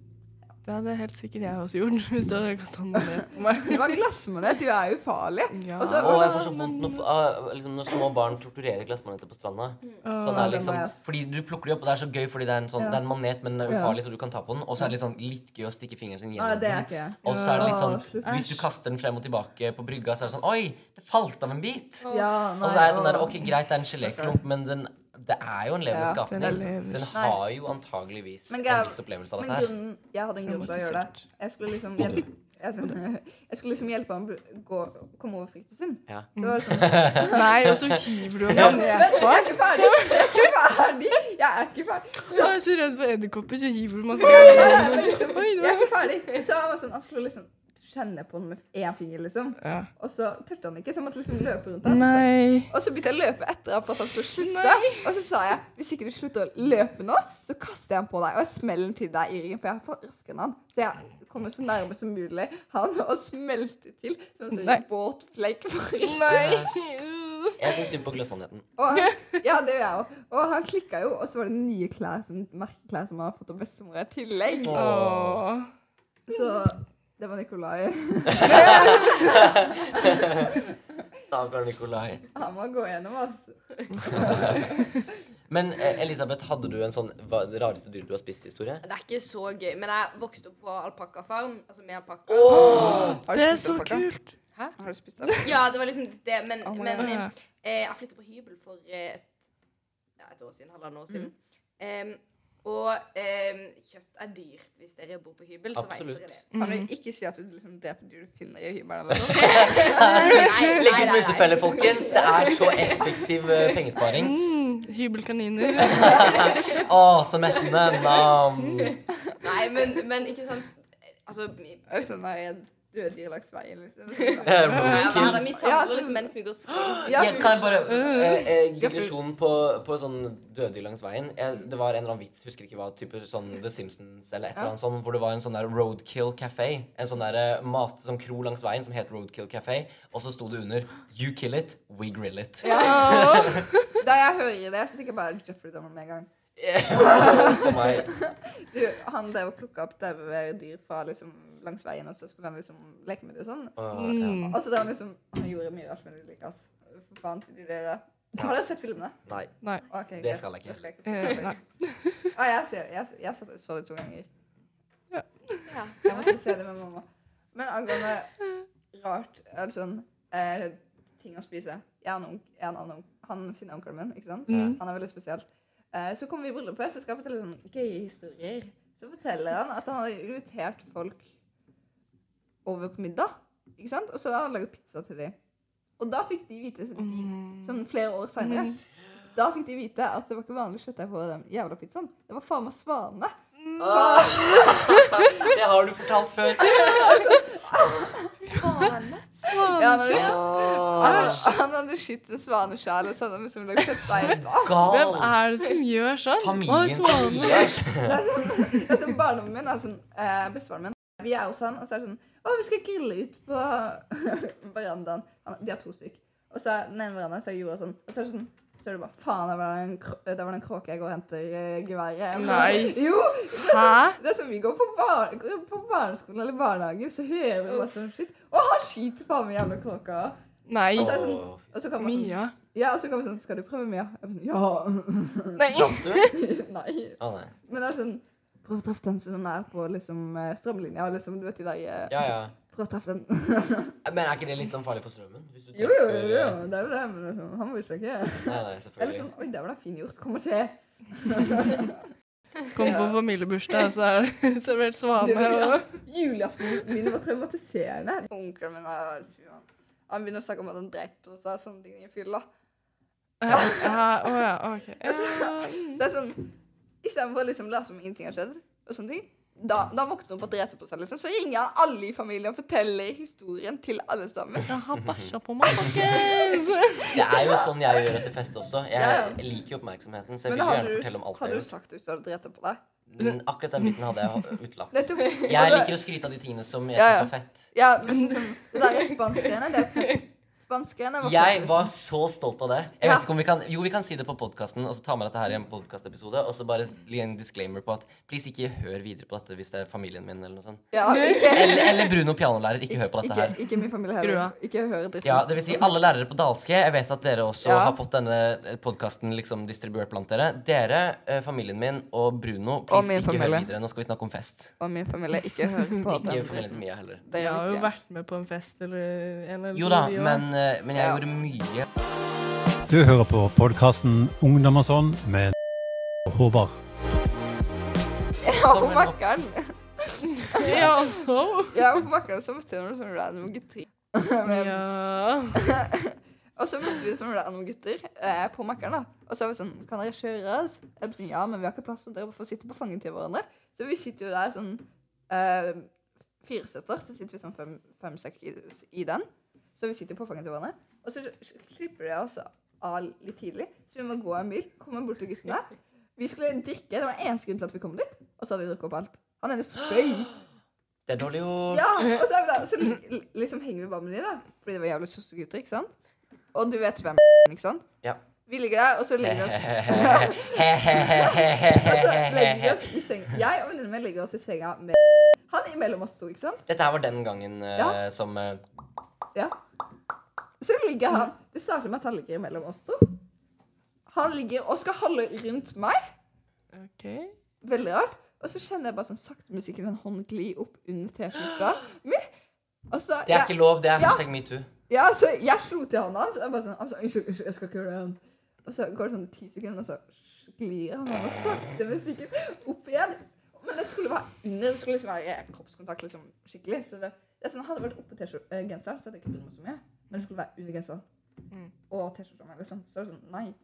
Speaker 3: Det hadde helt sikkert jeg også gjort [LAUGHS] hvis du hadde kasta den ned på meg.
Speaker 2: Det var glassmanet, du er ufarlig.
Speaker 3: Ja.
Speaker 2: Og så-
Speaker 1: Å, jeg får så vondt når, ah, liksom, når små barn torturerer glassmaneter på stranda. Sånn er
Speaker 2: Mm. det må
Speaker 1: liksom,
Speaker 2: jeg ass.
Speaker 1: fordi Du plukker dem opp, og det er så gøy fordi det er en, sånn,
Speaker 2: Ja.
Speaker 1: det er en manet, men den er
Speaker 2: Ja.
Speaker 1: ufarlig, så du kan ta på den. Og så er det litt sånn litt gøy å stikke fingeren sin
Speaker 2: Nei,
Speaker 1: gjennom
Speaker 2: det er
Speaker 1: den.
Speaker 2: ikke jeg.
Speaker 1: Og så er det litt sånn,
Speaker 2: Åh, slutt.
Speaker 1: Hvis du kaster den frem og tilbake på brygga, så er det sånn Oi, det falt av en bit!
Speaker 2: Ja,
Speaker 1: Og så er det sånn der, ok, Greit, det er en geléklump, men den, det er jo en levende
Speaker 2: Ja,
Speaker 1: skapning.
Speaker 3: den er levende.
Speaker 1: Den har jo antageligvis en
Speaker 2: Men Gav-
Speaker 1: viss opplevelse av
Speaker 2: Men
Speaker 1: dette her.
Speaker 2: grunnen, jeg hadde en grunn for å gjøre det. Jeg skulle liksom hjelpe, jeg skulle, [LAUGHS] jeg skulle liksom hjelpe ham å gå, komme over frykten sin.
Speaker 1: Ja.
Speaker 2: Så var det sånn,
Speaker 3: Nei, og så hiver
Speaker 2: [LAUGHS]
Speaker 3: du
Speaker 2: ja,
Speaker 3: henne
Speaker 2: men,
Speaker 3: ned.
Speaker 2: vent, jeg er ikke ferdig! Jeg er ikke ferdig! Jeg er ikke ferdig!
Speaker 3: Jeg er så redd for edderkopper, så hiver du
Speaker 2: [LAUGHS]
Speaker 3: masse
Speaker 2: Jeg er, liksom,
Speaker 3: Oi,
Speaker 2: jeg
Speaker 3: da.
Speaker 2: er ikke ferdig. Så han var sånn, han skulle liksom kjenne på den med én finger, liksom.
Speaker 3: Ja.
Speaker 2: Og så turte han ikke, så han måtte liksom løpe rundt der. Så sa-
Speaker 3: Nei.
Speaker 2: Og så begynte jeg å løpe etter ham for at han skulle slutte. Og så sa jeg hvis ikke du slutter å løpe nå, så kaster jeg ham på deg. Og jeg smeller den til deg i ryggen, for jeg er for raskere enn han. Så jeg kommer så nærme som mulig han og smelter til. Sånn som
Speaker 3: Nei.
Speaker 2: en våt flekk på ryggen.
Speaker 3: Nei.
Speaker 1: Jeg syns synd på Gløssmannheten.
Speaker 2: Og, ja, det gjør jeg òg. Og han klikka jo, og så var det nye klær som, merkeklær som han har fått av bestemora i tillegg.
Speaker 3: Åh.
Speaker 2: Så det var Nikolai.
Speaker 1: Stakkar Nikolai.
Speaker 2: Han må gå gjennom altså. oss.
Speaker 1: Men eh, Elisabeth, hadde du en sånn hva, rareste dyr du har spist-historie?
Speaker 4: Det er ikke så gøy, men jeg vokste opp på alpakkafarm. Altså med alpakka.
Speaker 7: Har du
Speaker 3: Det er
Speaker 7: spist
Speaker 3: så
Speaker 7: alpakka?
Speaker 3: kult.
Speaker 7: Har du spist alpakka?
Speaker 4: Ja, det var liksom det. Men,
Speaker 7: Oh my
Speaker 4: men
Speaker 7: God.
Speaker 4: eh, eh, jeg flyttet på hybel for eh, et, ja, et år siden, halvannet år siden. Em, og em, kjøtt er dyrt hvis dere bor på hybel, så vet
Speaker 1: Absolutt.
Speaker 4: dere det. [LAUGHS]
Speaker 2: Mm.
Speaker 7: Kan du ikke si at du liksom dreper dyr du finner i hybelen? eller noe?
Speaker 2: [LAUGHS]
Speaker 1: Legg ut musefeller, folkens. Det er så effektiv eh, pengesparing.
Speaker 3: Mm, hybelkaniner.
Speaker 1: Å, så mettende. Nam.
Speaker 4: Nei, men, men ikke sant Altså, jeg
Speaker 2: Og sånn der døde dyr langs veien,
Speaker 1: [LAUGHS]
Speaker 2: liksom.
Speaker 1: Eh,
Speaker 4: var
Speaker 1: roadkill.
Speaker 4: der
Speaker 2: Ja,
Speaker 4: mishandlet
Speaker 2: så-
Speaker 4: liksom, mennesker med godt
Speaker 2: [GASPS]
Speaker 4: skole.
Speaker 2: Ja,
Speaker 1: Jeg, kan jeg bare eh, eh, digresjon på, på sånn døddyr langs veien? Jeg, det var en eller annen vits, husker ikke hva, type sånn The Simpsons eller et eller annet sånn, hvor det var en sånn der Roadkill Café. En sånn der eh, mat, sånn kro langs veien som het Roadkill Café, og så sto det under You kill it, we grill it.
Speaker 2: Da jeg hører det, så tenker jeg bare Jeffrey Dahmer med en gang.
Speaker 1: [LAUGHS] For meg.
Speaker 2: Du, han der plukka opp daue dyr fra liksom langs veien, og så skulle han liksom leke med det og sånn.
Speaker 1: Åh, ja.
Speaker 3: Mm.
Speaker 2: Og så da han liksom Han gjorde mye rart med det like, altså. For faen til de der. Har dere sett filmene?
Speaker 1: Nei.
Speaker 3: Nei.
Speaker 2: Ok,
Speaker 1: Det
Speaker 2: greit.
Speaker 1: skal jeg ikke.
Speaker 2: ikke se.
Speaker 3: Eh, nei.
Speaker 2: Ah, jeg ser det. Jeg, jeg satt og så det to ganger.
Speaker 3: Ja.
Speaker 4: Ja.
Speaker 2: Jeg måtte se det med mamma. Men angående rart eller sånn eh, ting å spise Jeg har en, onk, jeg har en annen onk, han sin onkelen min. ikke sant?
Speaker 3: Mm.
Speaker 2: Han er veldig spesiell. Eh, så kommer vi i bryllupet, så skal jeg fortelle sånn gøye historier. Så forteller han at han har invitert folk over på middag. ikke sant? Og så har han laget pizza til dem. Og da fikk de vite sånn flere år seinere. Da fikk de vite at det var ikke vanlig kjøttdeig på den jævla pizzaen. Det var faen meg svane.
Speaker 1: Det har du fortalt før.
Speaker 2: Ja, han, hadde, han,
Speaker 1: Åh,
Speaker 2: Ah, han hadde skutt en svane sjæl, og så hadde han liksom lagd kjøttdeig.
Speaker 3: Hvem
Speaker 1: gal.
Speaker 3: er det som gjør sånn? Å,
Speaker 1: Familien til
Speaker 3: svanen.
Speaker 1: Elias.
Speaker 2: Det er sånn barndommen min er sånn eh, Bestefaren min Vi er hos han, og så er det sånn Å, vi skal grille ut på [LAUGHS] verandaen. Han, de har to stykk. Og så er den ene verandaen så er jorda sånn. Og så er det sånn så er det bare Faen, der var det en, kro- der var det en kråke. Jeg går og henter eh, geværet.
Speaker 3: Nei.
Speaker 2: Jo!
Speaker 3: Hæ?
Speaker 2: Det er som vi går på, bar går på barneskolen eller barnehage, så hører vi masse sånn shit. Å, han skyter faen meg jævla kråka.
Speaker 3: Nei.
Speaker 2: Og så er det sånn
Speaker 1: Åh,
Speaker 2: Og så kommer han sånn,
Speaker 3: Mia.
Speaker 2: ja, og så kommer han sånn Skal du prøve Mia? Jeg bare sånn,
Speaker 3: Nei.
Speaker 1: slapp du?
Speaker 2: ja. [LAUGHS] Nei.
Speaker 1: Å, nei.
Speaker 2: Men det er sånn Prøv å treffe den som er på liksom, eh, strømlinja. og Liksom, du vet de der eh,
Speaker 1: Ja, ja.
Speaker 2: Prøv å treffe den.
Speaker 1: Men er ikke det litt sånn farlig for strømmen? Hvis du
Speaker 2: Jo, jo,
Speaker 1: treffer-
Speaker 2: jo. Det er jo det, men liksom, han må jo sjekke.
Speaker 1: Nei, nei,
Speaker 2: Eller
Speaker 1: selvfølgelig.
Speaker 2: sånn Oi, der var det fin gjort. Kommer til.
Speaker 3: Kom på familiebursdag, og så er det [LAUGHS] servert svane. og-
Speaker 2: Julaften min var traumatiserende. Onkelen min er fy, han- Han begynner å snakke om at han drepte oss og sånne ting i fylla.
Speaker 3: Ja, ja, Å ja, OK. Ja, mm.
Speaker 2: Det er sånn Istedenfor å liksom late som ingenting har skjedd, og sånne ting da, da våkner han på drete på seg, liksom. Så ringer han alle i familien og forteller historien til alle sammen.
Speaker 3: Jeg har bæsja på meg, folkens!
Speaker 1: Det er jo sånn jeg gjør etter fest også.
Speaker 2: Ja,
Speaker 1: Jeg
Speaker 2: ja.
Speaker 1: liker jo oppmerksomheten, så jeg
Speaker 2: Men
Speaker 1: vil jo
Speaker 2: har
Speaker 1: gjerne
Speaker 2: du,
Speaker 1: fortelle om alt
Speaker 2: har
Speaker 1: jeg
Speaker 2: du
Speaker 1: har gjort.
Speaker 2: sagt hvis du hadde drept på deg?
Speaker 1: Men Akkurat den biten hadde
Speaker 2: [LAUGHS]
Speaker 1: jeg ho- utelatt.
Speaker 2: Nettopp.
Speaker 1: Jeg liker å skryte av de tingene som jeg
Speaker 2: Ja,
Speaker 1: syns
Speaker 2: ja.
Speaker 1: var fett.
Speaker 2: Ja, men så sånn, det der er spanskgreiene. Det er [LAUGHS] spanskgreiene. var
Speaker 1: Jeg
Speaker 2: faktisk-
Speaker 1: var så stolt av det. Jeg
Speaker 2: Ja.
Speaker 1: vet ikke om vi kan Jo, vi kan si det på podkasten, og så ta med dette her i en podkastepisode. Og så bare gi en disclaimer på at please ikke hør videre på dette hvis det er familien min eller noe sånt.
Speaker 2: ja, ikke,
Speaker 1: Eller, eller Bruno pianolærer, ikke hør på dette
Speaker 2: ikke,
Speaker 1: her.
Speaker 2: ikke min familie
Speaker 3: Skru
Speaker 2: heller.
Speaker 3: av.
Speaker 2: Ikke hør dritt.
Speaker 1: Ja, det vil si alle lærere på dalske. Jeg vet at dere også
Speaker 2: Ja.
Speaker 1: har fått denne podkasten liksom distribuert blant dere. Dere, eh, familien min og Bruno, please
Speaker 2: min
Speaker 1: ikke hør
Speaker 2: familie.
Speaker 1: videre. Nå skal vi snakke om fest.
Speaker 2: Og min familie, ikke hør på den
Speaker 1: Ikke familien
Speaker 2: dritten.
Speaker 1: til Mia heller.
Speaker 2: Det
Speaker 3: Jeg
Speaker 2: gjør
Speaker 3: har jo
Speaker 2: ikke.
Speaker 3: vært med på en fest eller en eller
Speaker 1: Jo da,
Speaker 3: to, de også.
Speaker 1: men, eh, men jeg
Speaker 2: Ja.
Speaker 1: gjorde mye.
Speaker 5: Du hører på podkasten Ungdom og sånn med og Håvard.
Speaker 2: Jeg var på makkeren.
Speaker 3: [LAUGHS] Ja, og så
Speaker 2: Jeg var på makkeren, så møtte jeg noen sånne sånn random gutter. [LAUGHS] Men-
Speaker 3: Ja.
Speaker 2: Og så møtte vi sånne random gutter eh, på makkeren. da. Og så var vi sånn Kan dere kjøre oss? Jeg ble sånn, ja, men vi har ikke plass, så dere får sitte på fanget til hverandre. Så vi sitter jo der sånn eh, fire setter, så sitter vi sånn fem-seks i, i den. Så vi sitter på fanget til hverandre. Og så klipper de oss av litt tidlig, så vi må gå en mil. Komme bort til guttene. Vi skulle drikke. Det var eneste grunn til at vi kom dit. Og så hadde vi drukket opp alt. Han ene spøy.
Speaker 1: Det er [LAUGHS] dårlig gjort.
Speaker 2: Ja, og så, er vi der, og så li- liksom henger vi bare med de, da. Fordi det var jævlig sosse gutter, ikke sant? Og du vet hvem ikke sant?
Speaker 1: Ja.
Speaker 2: Vi ligger der, og så
Speaker 1: [LAUGHS]
Speaker 2: ligger vi oss, og så legger vi
Speaker 1: Dette
Speaker 2: oss i seng. Jeg og venninnen min legger oss i senga med han imellom oss to, ikke sant?
Speaker 1: her var den gangen eh,
Speaker 2: Ja.
Speaker 1: som eh,
Speaker 2: Så ligger han Det starter med at han ligger imellom oss to. Han ligger og skal holde rundt meg.
Speaker 3: OK.
Speaker 2: Veldig rart. Og så kjenner jeg bare sånn sakte musikken en hånd gli opp under T-skjorta mi. Og så
Speaker 1: Det er
Speaker 2: jeg-
Speaker 1: ikke lov. Det er
Speaker 2: Ja.
Speaker 1: hashtag metoo.
Speaker 2: Ja, så jeg slo til hånda hans. og Jeg bare sånn, altså, unnskyld, unnskyld, jeg skal ikke gjøre det igjen. Og så går det sånn ti sekunder, og så sklir han og sakte, men sikkert opp igjen. Men det skulle være under, det skulle liksom være kroppskontakt liksom skikkelig. Så det, det er sånn, hadde det vært oppå T-skjorta- eh, genseren, så hadde jeg ikke brydd meg så mye. Men det skulle være under genseren.
Speaker 3: Mm.
Speaker 2: Og T-skjorta mi, liksom. Så det er sånn, nei.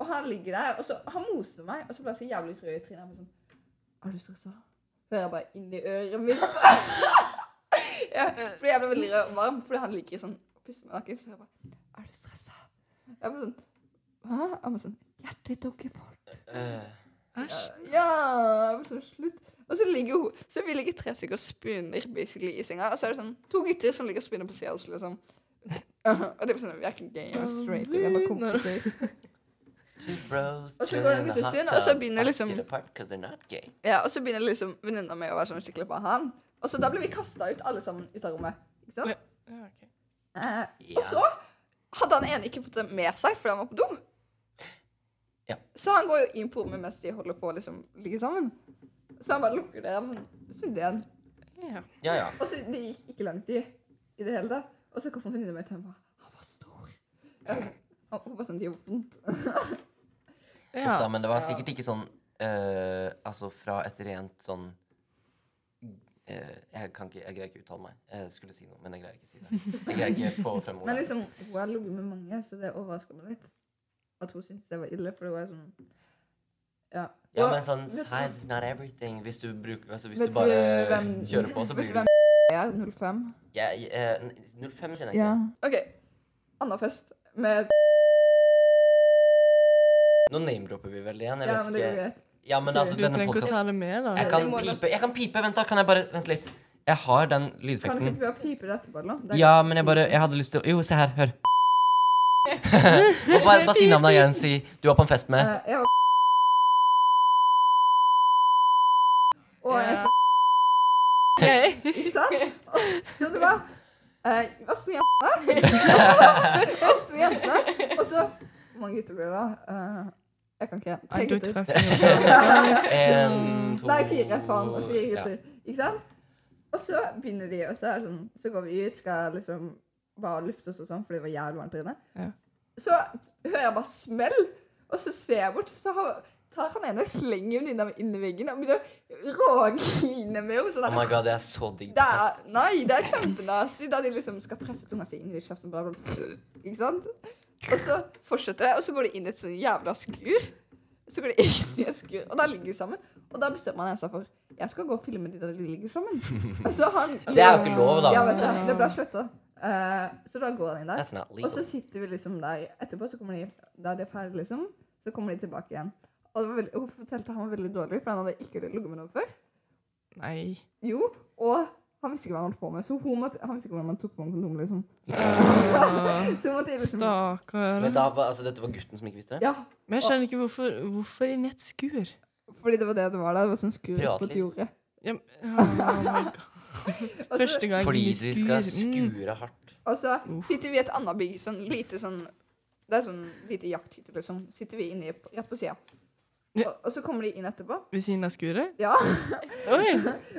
Speaker 2: Og han ligger der, og så han moser meg, og så ble jeg så jævlig rød i trynet. Jeg ble sånn, er du stressa? Hører jeg bare inn i øret mitt. ja, fordi jeg ble veldig rød og varm, fordi han ligger sånn og pusser meg nakken. Så jeg bare Er du stressa? Jeg ble sånn Hæ? Han var sånn Hjertet ditt dunker fort.
Speaker 1: Eh,
Speaker 3: Æsj.
Speaker 2: Ja! Jeg ble sånn Slutt. Og så ligger hun Så vi ligger tre stykker og spooner basically i senga, og så er det sånn to gutter som ligger og spooner på sida av oss, liksom. og det blir sånn Vi er ikke gay, vi er straight, vi er bare kompiser.
Speaker 1: two bros,
Speaker 2: Og så
Speaker 1: chilling
Speaker 2: går det en
Speaker 1: in a
Speaker 2: liten
Speaker 1: hot
Speaker 2: stund, og så
Speaker 1: tub,
Speaker 2: begynner
Speaker 1: five
Speaker 2: liksom-
Speaker 1: feet apart 'cause they're not gay.
Speaker 2: Ja, og så begynner liksom venninna mi å være sånn skikkelig på han. Og så da blir vi kasta ut, alle sammen, ut av rommet. Ikke sant?
Speaker 3: Ja, ok.
Speaker 2: Eh,
Speaker 1: Ja.
Speaker 2: Og så hadde han ene ikke fått det med seg fordi han var på do.
Speaker 1: Ja.
Speaker 2: Så han går jo inn på rommet mens de holder på å liksom ligge sammen. Så han bare lukker døra, men snudde igjen.
Speaker 3: Ja.
Speaker 1: Ja, ja.
Speaker 2: Og så det gikk ikke lang tid i det hele tatt. Og så kom venninna mi til meg og bare, Han var stor. Jeg- Han hun bare sånn, Det gjorde vondt.
Speaker 1: Uff da,
Speaker 3: ja.
Speaker 1: men det var sikkert ikke sånn eh, Altså fra et rent sånn eh, Jeg kan ikke, jeg greier ikke uttale meg. Jeg skulle si noe, men jeg greier ikke si det. Jeg greier ikke få frem
Speaker 2: Men
Speaker 1: ordet.
Speaker 2: liksom, hun har ligget med mange, så det overrasker meg litt. At hun syntes det var ille, for hun er sånn Ja.
Speaker 1: Ja,
Speaker 2: Og
Speaker 1: men sånn
Speaker 2: vet du-
Speaker 1: size is not everything. Hvis du bruker Altså hvis
Speaker 2: Vet
Speaker 1: du
Speaker 2: du
Speaker 1: bare
Speaker 2: hvem-
Speaker 1: kjører på, så
Speaker 2: vet
Speaker 1: blir du
Speaker 2: du hvem jeg er 05.
Speaker 1: Ja, jeg- eh, n- 05 kjenner jeg ikke.
Speaker 2: Ja. OK. Anna fest med
Speaker 1: Nå name-dropper vi vel igjen. Jeg
Speaker 2: Ja, men
Speaker 1: vet
Speaker 2: det går
Speaker 1: ikke.
Speaker 2: greit.
Speaker 1: Ja, men
Speaker 2: Sorry.
Speaker 1: altså,
Speaker 3: Du
Speaker 1: denne
Speaker 3: trenger ikke å ta
Speaker 1: podkasten
Speaker 3: det med, da.
Speaker 1: Jeg kan
Speaker 4: Det må da-
Speaker 1: pipe. Jeg kan pipe, vent da. Kan jeg bare Vent litt. Jeg har den
Speaker 2: Kan du
Speaker 1: lydeffekten.
Speaker 2: ikke bare pipe det etterpå, eller? noe? Det er-
Speaker 1: Ja, men jeg bare Jeg hadde lyst til å Jo, se her.
Speaker 2: [LAUGHS]
Speaker 1: Hør. Og bare, bare si navnet igjen. Si du var på en fest med
Speaker 2: Eh, Jeg var Og jeg
Speaker 3: Ja.
Speaker 2: sa
Speaker 3: [LAUGHS]
Speaker 2: [LAUGHS]
Speaker 3: Ok.
Speaker 2: Ikke sant? Og- Så det var eh, Hva sto
Speaker 3: [LAUGHS]
Speaker 2: jentene? Hva sto jentene? Og så Hvor mange gutter blir det da? Eh, jeg kan ikke. Tre
Speaker 3: Nei, du
Speaker 2: gutter.
Speaker 3: treffer noe.
Speaker 1: En, to
Speaker 2: Nei, fire. Faen. og Fire
Speaker 1: Ja.
Speaker 2: gutter. Ikke sant? Og så begynner de, og så, er det sånn, så går vi ut, skal liksom bare lufte oss og sånn, fordi det var jævlig varmt inne.
Speaker 3: Ja.
Speaker 2: Så hører jeg bare smell, og så ser jeg bort, så har, tar han ene og slenger venninna mi inn i veggen og begynner å rågrine med henne.
Speaker 1: Oh
Speaker 2: Sånn
Speaker 1: my
Speaker 2: der.
Speaker 1: god, det er så digg
Speaker 2: det
Speaker 1: på fest.
Speaker 2: er, nei, det er kjempenasty da de liksom skal presse tunga si inn i kjeften. Bla, bla, bla, ikke sant? Og så fortsetter det, og så går de inn i et sånn jævla skur. Så går de inn i et skur, og da ligger de sammen. Og da bestemmer han seg for jeg skal gå og filme de da de ligger sammen. Så han,
Speaker 1: [LAUGHS] Det er jo ikke lov, da.
Speaker 2: ja, vet du, det ble sletta. Eh, så da går han inn der.
Speaker 1: That's not
Speaker 2: Og så
Speaker 1: legal.
Speaker 2: sitter vi liksom der. Etterpå så kommer de Da det er ferdig, liksom, så kommer de tilbake igjen. Og det var veldig, hun fortalte han var veldig dårlig, for han hadde ikke ligget med noen før. [LAUGHS]
Speaker 3: Nei.
Speaker 2: Jo, og han visste ikke hva han holdt på med, så hun måtte, han visste ikke hvordan man tok på en kondom, liksom.
Speaker 3: Ah,
Speaker 2: Så hun måtte liksom
Speaker 3: Stakkar.
Speaker 1: Men da, var- altså, dette var gutten som ikke visste det?
Speaker 2: Ja,
Speaker 3: Men jeg skjønner ikke hvorfor, hvorfor inn i et skur.
Speaker 2: fordi det var det det var da. Det var sånn skur på
Speaker 1: Privatliv.
Speaker 2: et jorde.
Speaker 3: Ja, men- [LAUGHS] oh my
Speaker 2: [LAUGHS]
Speaker 3: god.
Speaker 2: Og så,
Speaker 3: Første gang
Speaker 1: Fordi
Speaker 3: i
Speaker 1: de skal
Speaker 3: Mm.
Speaker 1: skure hardt.
Speaker 2: og så
Speaker 3: Uff.
Speaker 2: sitter vi i et annet bygg, sånn lite sånn Det er sånn lite jakthytte, liksom. Sitter vi inni rett på sida.
Speaker 3: Ja.
Speaker 2: Og, og så kommer de inn etterpå.
Speaker 3: Ved siden av skuret?
Speaker 2: Ja.
Speaker 3: Oi!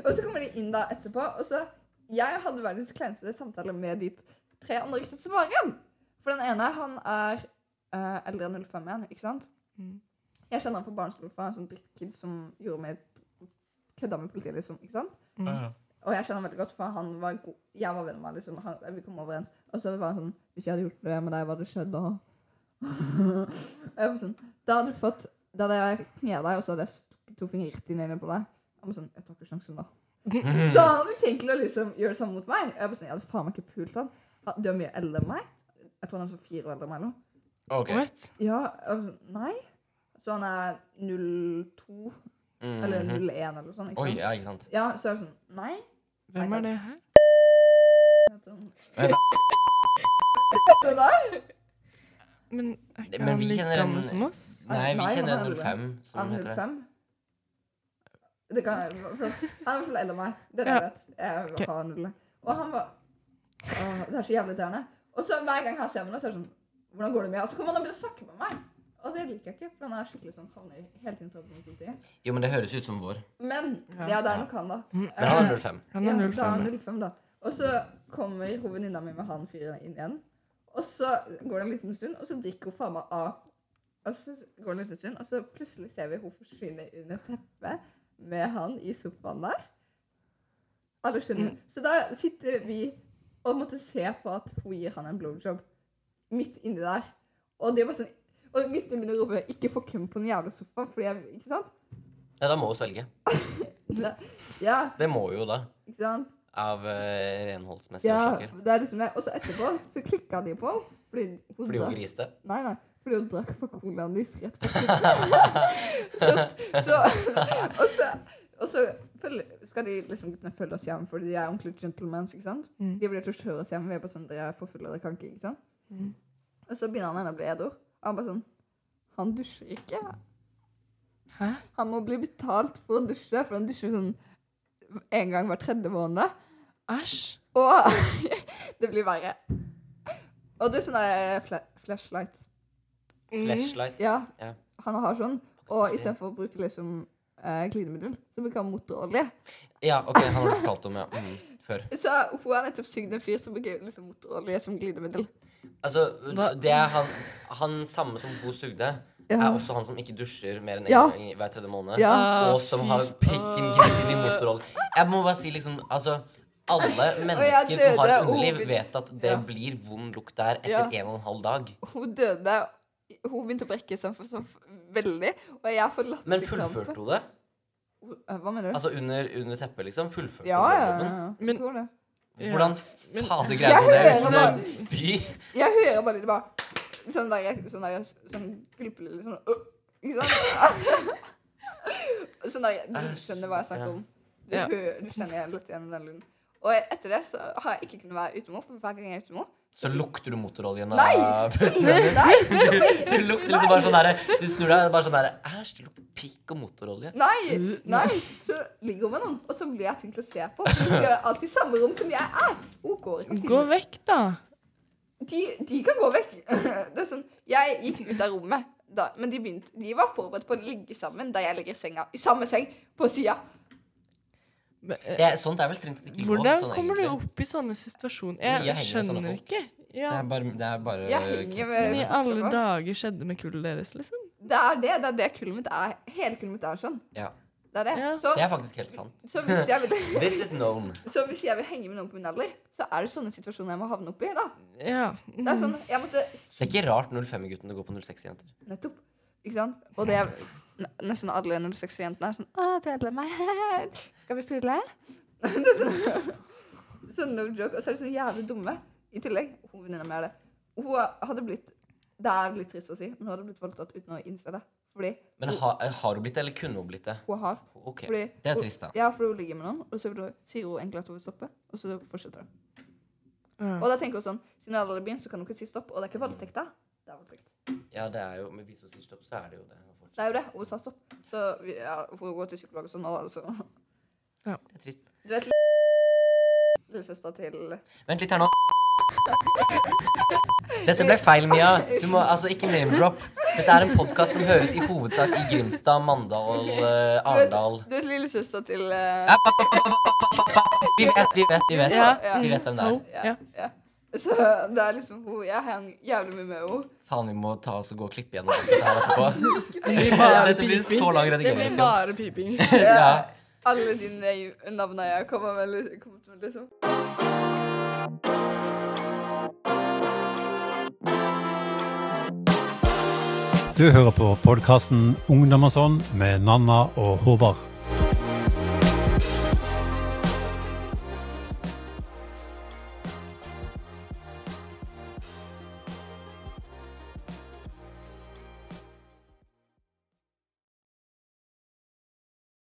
Speaker 2: Og så kommer de inn da etterpå, og så Jeg hadde verdens kleineste samtale med de tre andre gutta som var igjen. For den ene, han er eh, eldre enn 05 igjen, ikke sant?
Speaker 3: Mm.
Speaker 2: Jeg kjenner han på barneskolen fra en sånn drittkid som gjorde meg kødda med politiet, liksom. ikke sant?
Speaker 3: Mm.
Speaker 2: Og jeg kjenner han veldig godt, for han var god. Jeg var venn med han, liksom. Han, vi kom overens. Og så var han sånn Hvis jeg hadde gjort noe med deg, hva hadde skjedd da? [LAUGHS] Og jeg var sånn Da hadde du fått Da hadde jeg knelt deg, og så hadde jeg stukket to fingre rett inn i øynene på deg. Han var sånn Jeg tar ikke
Speaker 1: [LAUGHS]
Speaker 2: sjansen, da. Så han hadde tenkt til å liksom gjøre det samme mot meg. Jeg, bare sånn, jeg hadde faen meg ikke pult han. Han- Du er mye eldre enn meg. Jeg tror han er sånn fire år eldre enn meg nå.
Speaker 3: What?
Speaker 2: Ja, jeg var sånn, nei. Så han er 02
Speaker 1: Mhm.
Speaker 2: eller liksom. 01 eller noe sånt. Ikke
Speaker 1: Oi,
Speaker 2: sant?
Speaker 1: ja, ikke sant.
Speaker 2: Ja, så er det sånn Nei.
Speaker 3: Hvem er det her?
Speaker 2: Det der?
Speaker 3: Men er
Speaker 1: Det-
Speaker 3: ikke
Speaker 1: men
Speaker 3: han
Speaker 1: vi
Speaker 3: like
Speaker 1: kjenner en-
Speaker 3: gammel som oss?
Speaker 1: Nei, vi
Speaker 2: Nei,
Speaker 1: kjenner
Speaker 2: han er
Speaker 1: 105, som heter det.
Speaker 2: 105? Det kan jeg, for, han er i hvert fall eldre enn meg. Det er det
Speaker 3: Ja.
Speaker 2: jeg vet. Jeg
Speaker 3: Ok.
Speaker 2: har null. Og han var Åh, Det er så jævlig irriterende. Og så hver gang han ser meg, nå, så er det sånn Hvordan går det med deg? Og så kommer han og begynner å snakke med meg. Og det liker jeg ikke, for han er skikkelig sånn havner hele tiden i toppen av politiet.
Speaker 1: Jo, men det høres ut som vår.
Speaker 2: Men ja, det er nok han, da. Eh,
Speaker 1: Men han er 05.
Speaker 3: Han er
Speaker 2: Ja, da er han
Speaker 3: 05.
Speaker 2: 05, da. Og så kommer hun venninna mi med han fyren inn igjen. Og så går det en liten stund, og så drikker hun faen meg av. Og så går det en liten stund, og så plutselig ser vi hun forsvinne under teppet med han i sofaen der. Alle skjønner. Så da sitter vi og måtte se på at hun gir han en blowjob midt inni der. Og det var sånn Og guttene mine roper 'ikke få køm på den jævla sofaen', fordi jeg Ikke sant?
Speaker 1: Ja, da må hun svelge.
Speaker 2: Ja,
Speaker 1: Det må jo da.
Speaker 2: ikke sant?
Speaker 1: Av eh, renholdsmessige
Speaker 2: Ja,
Speaker 1: årsaker.
Speaker 2: det er liksom det. Og så etterpå så klikka de på henne. Fordi hun,
Speaker 1: Fordi hun
Speaker 2: drakk-
Speaker 1: griste.
Speaker 2: Nei, nei. Fordi hun drakk fra colaen deres
Speaker 1: [LAUGHS]
Speaker 2: rett på kjøkkenet. [LAUGHS] så, så, og så, og så følger, skal de liksom guttene følge oss hjem, fordi de er ordentlige gentlemans. ikke sant?
Speaker 3: Mm.
Speaker 2: De blir til å kjøre oss hjem. Vi er bare sånn, dere er for fulle, dere kan ikke. ikke sant?
Speaker 3: Mm.
Speaker 2: Og så begynner han ene å bli edru. Og han bare sånn Han dusjer ikke.
Speaker 3: Hæ?
Speaker 2: Han må bli betalt for å dusje, for han dusjer sånn en gang hver tredje måned.
Speaker 3: Æsj.
Speaker 2: Og [LAUGHS] det blir verre. Og du sånn der fla flashlight. Mhm.
Speaker 1: Flashlight.
Speaker 2: Ja,
Speaker 1: Ja.
Speaker 2: han har sånn. Og
Speaker 1: Se.
Speaker 2: istedenfor å bruke liksom eh, glidemiddel, så bruker han motorolje.
Speaker 1: Ja, OK, han har du fortalt om, ja. Mm, før.
Speaker 2: Så hun har nettopp sugd en fyr som bruker liksom motorolje som glidemiddel.
Speaker 1: Altså,
Speaker 3: Hva?
Speaker 1: det er han, han samme som hun sugde, er
Speaker 2: Ja.
Speaker 1: også han som ikke dusjer mer enn én
Speaker 2: Ja.
Speaker 1: gang i- hver tredje måned.
Speaker 2: Ja.
Speaker 3: Ah,
Speaker 1: Og som
Speaker 3: fy
Speaker 1: har
Speaker 3: f-
Speaker 1: pikken glidd i motorolje. Jeg må bare si liksom Altså, alle mennesker som har
Speaker 2: døde,
Speaker 1: underliv,
Speaker 2: Ovid.
Speaker 1: vet at det
Speaker 2: Ja.
Speaker 1: blir vond lukt der
Speaker 2: Ja.
Speaker 1: etter en og en halv dag.
Speaker 2: Hun døde. Hun begynte å brekke seg for så f- veldig, og jeg får
Speaker 1: Men
Speaker 2: latterkrampe.
Speaker 1: fullførte hun det?
Speaker 2: Hun- eh, Hva mener du?
Speaker 1: Altså under, under teppet, liksom? Fullførte hun
Speaker 2: ja, ja, ja,
Speaker 1: jobben?
Speaker 2: ja.
Speaker 3: Men-
Speaker 2: Jeg tror det.
Speaker 3: Ja.
Speaker 1: Hvordan
Speaker 3: Men-
Speaker 1: fader
Speaker 2: Jeg
Speaker 1: greide hun det
Speaker 2: hører
Speaker 1: uten å
Speaker 2: bare-
Speaker 1: spy?
Speaker 2: Jeg hører bare det bare Sånn der, sånn der Sånn gulpelyd Sånn øh, Ikke sant? [LAUGHS] sånn der Du skjønner hva jeg snakker om Du,
Speaker 3: Ja.
Speaker 2: hører, du kjenner jeg litt gjennom den lyden Og etter det så har jeg ikke kunnet være utemor For hver gang jeg er utemor
Speaker 1: Så lukter du motoroljen [LAUGHS]
Speaker 2: Nei!
Speaker 1: av pusten
Speaker 2: Nei,
Speaker 1: hennes? Du, du lukter liksom bare sånn herre Du snur deg, det er bare sånn herre Æsj, det lukter pikk og motorolje.
Speaker 2: nei, nei Så ligger hun med noen Og så blir jeg tvunget til å se på for Hun gjør alt i samme rom som jeg er Hun går ikke og
Speaker 3: Gå
Speaker 2: filmer.
Speaker 3: vekk, da.
Speaker 2: de, de kan gå vekk [LAUGHS] Det er sånn Jeg gikk ut av rommet da, Men de, begynte, de var forberedt på å ligge sammen Da jeg ligger i senga I samme seng På siden
Speaker 3: Men, eh,
Speaker 1: Det, er- sånt er vel strengt tatt ikke lov.
Speaker 3: Hvordan
Speaker 1: sånn
Speaker 3: kommer du
Speaker 1: egentlig.
Speaker 3: opp i sånne situasjoner?
Speaker 1: Mye
Speaker 3: Jeg
Speaker 1: henger med sånne
Speaker 3: skjønner
Speaker 1: folk.
Speaker 3: ikke.
Speaker 1: Det
Speaker 3: Ja.
Speaker 1: er bare, det er bare
Speaker 2: Jeg henger
Speaker 1: knipsen
Speaker 2: med-
Speaker 3: Men i
Speaker 1: hennes.
Speaker 3: alle dager skjedde med kullet deres, liksom?
Speaker 2: Det er det. Det er det kullet mitt er. Hele kullet mitt er sånn.
Speaker 1: Ja.
Speaker 2: Det er det.
Speaker 3: Ja.
Speaker 2: Så,
Speaker 1: Det er faktisk helt sant.
Speaker 2: så, hvis jeg vil, [LAUGHS]
Speaker 1: This is known.
Speaker 2: så hvis jeg vil henge med noen på min alder, så er det sånne situasjoner jeg må havne oppi. da.
Speaker 3: Ja.
Speaker 2: Det er sånn, jeg måtte
Speaker 1: Det er ikke rart 05-guttene går på 06-jenter.
Speaker 2: Nettopp. Ikke sant? Og det er n- nesten alle 06-jentene er sånn Å, du ødela meg. Skal vi spille? Det er sånn, sånn no joke. Og [LAUGHS] så er de så jævlig dumme. I tillegg, hun venninna mi er det. Hun hadde blitt Det er litt trist å si, men hun hadde blitt voldtatt uten å innse det. Fordi
Speaker 1: Men ha, har hun blitt det, eller kunne hun blitt det?
Speaker 2: hun har
Speaker 1: Ok,
Speaker 2: Fordi
Speaker 1: Det er
Speaker 2: hun-
Speaker 1: trist, da.
Speaker 2: Ja, for hun ligger med noen, og så vil hun- sier hun egentlig at hun vil stoppe, og så fortsetter hun.
Speaker 3: Ja.
Speaker 2: Og da tenker hun sånn, siden hun allerede har begynt, så kan hun ikke si stopp, og det er ikke voldtekt da. Det er voldtekt.
Speaker 1: Ja, det er jo, men hvis hun sier stopp, så er det jo det.
Speaker 2: Det er jo det, hun sa stopp. Så vi- ja, hun går til psykolog og sånn, og da, så...
Speaker 1: Det er trist.
Speaker 2: Du vet, lillesøster til...
Speaker 1: Vent litt her nå. Dette ble feil, Mia. Du må altså ikke name-drop. Dette er en podkast som høres i hovedsak i Grimstad, Mandal, eh,
Speaker 2: Du vet,
Speaker 1: Arendal
Speaker 2: du vet lillesøster til... eh,
Speaker 1: Vi vet, vi vet, vi vet.
Speaker 3: Ja.
Speaker 1: Vi vet hvem det er.
Speaker 3: Hallo? Ja.
Speaker 2: Så det er liksom hun, jeg hang jævlig mye med henne.
Speaker 1: Faen, vi må ta oss og gå og klippe gjennom dette her etterpå.
Speaker 3: blir bare
Speaker 1: Dette blir en
Speaker 3: piping.
Speaker 1: så lang
Speaker 3: Det blir
Speaker 1: redigeringsjobb.
Speaker 3: bare piping.
Speaker 1: [LAUGHS] Ja.
Speaker 2: Alle de ne- navnene jeg kommer med, li- kommer til, liksom.
Speaker 5: Du hører på podkasten Ungdom og sånn med Nanna og Håvard.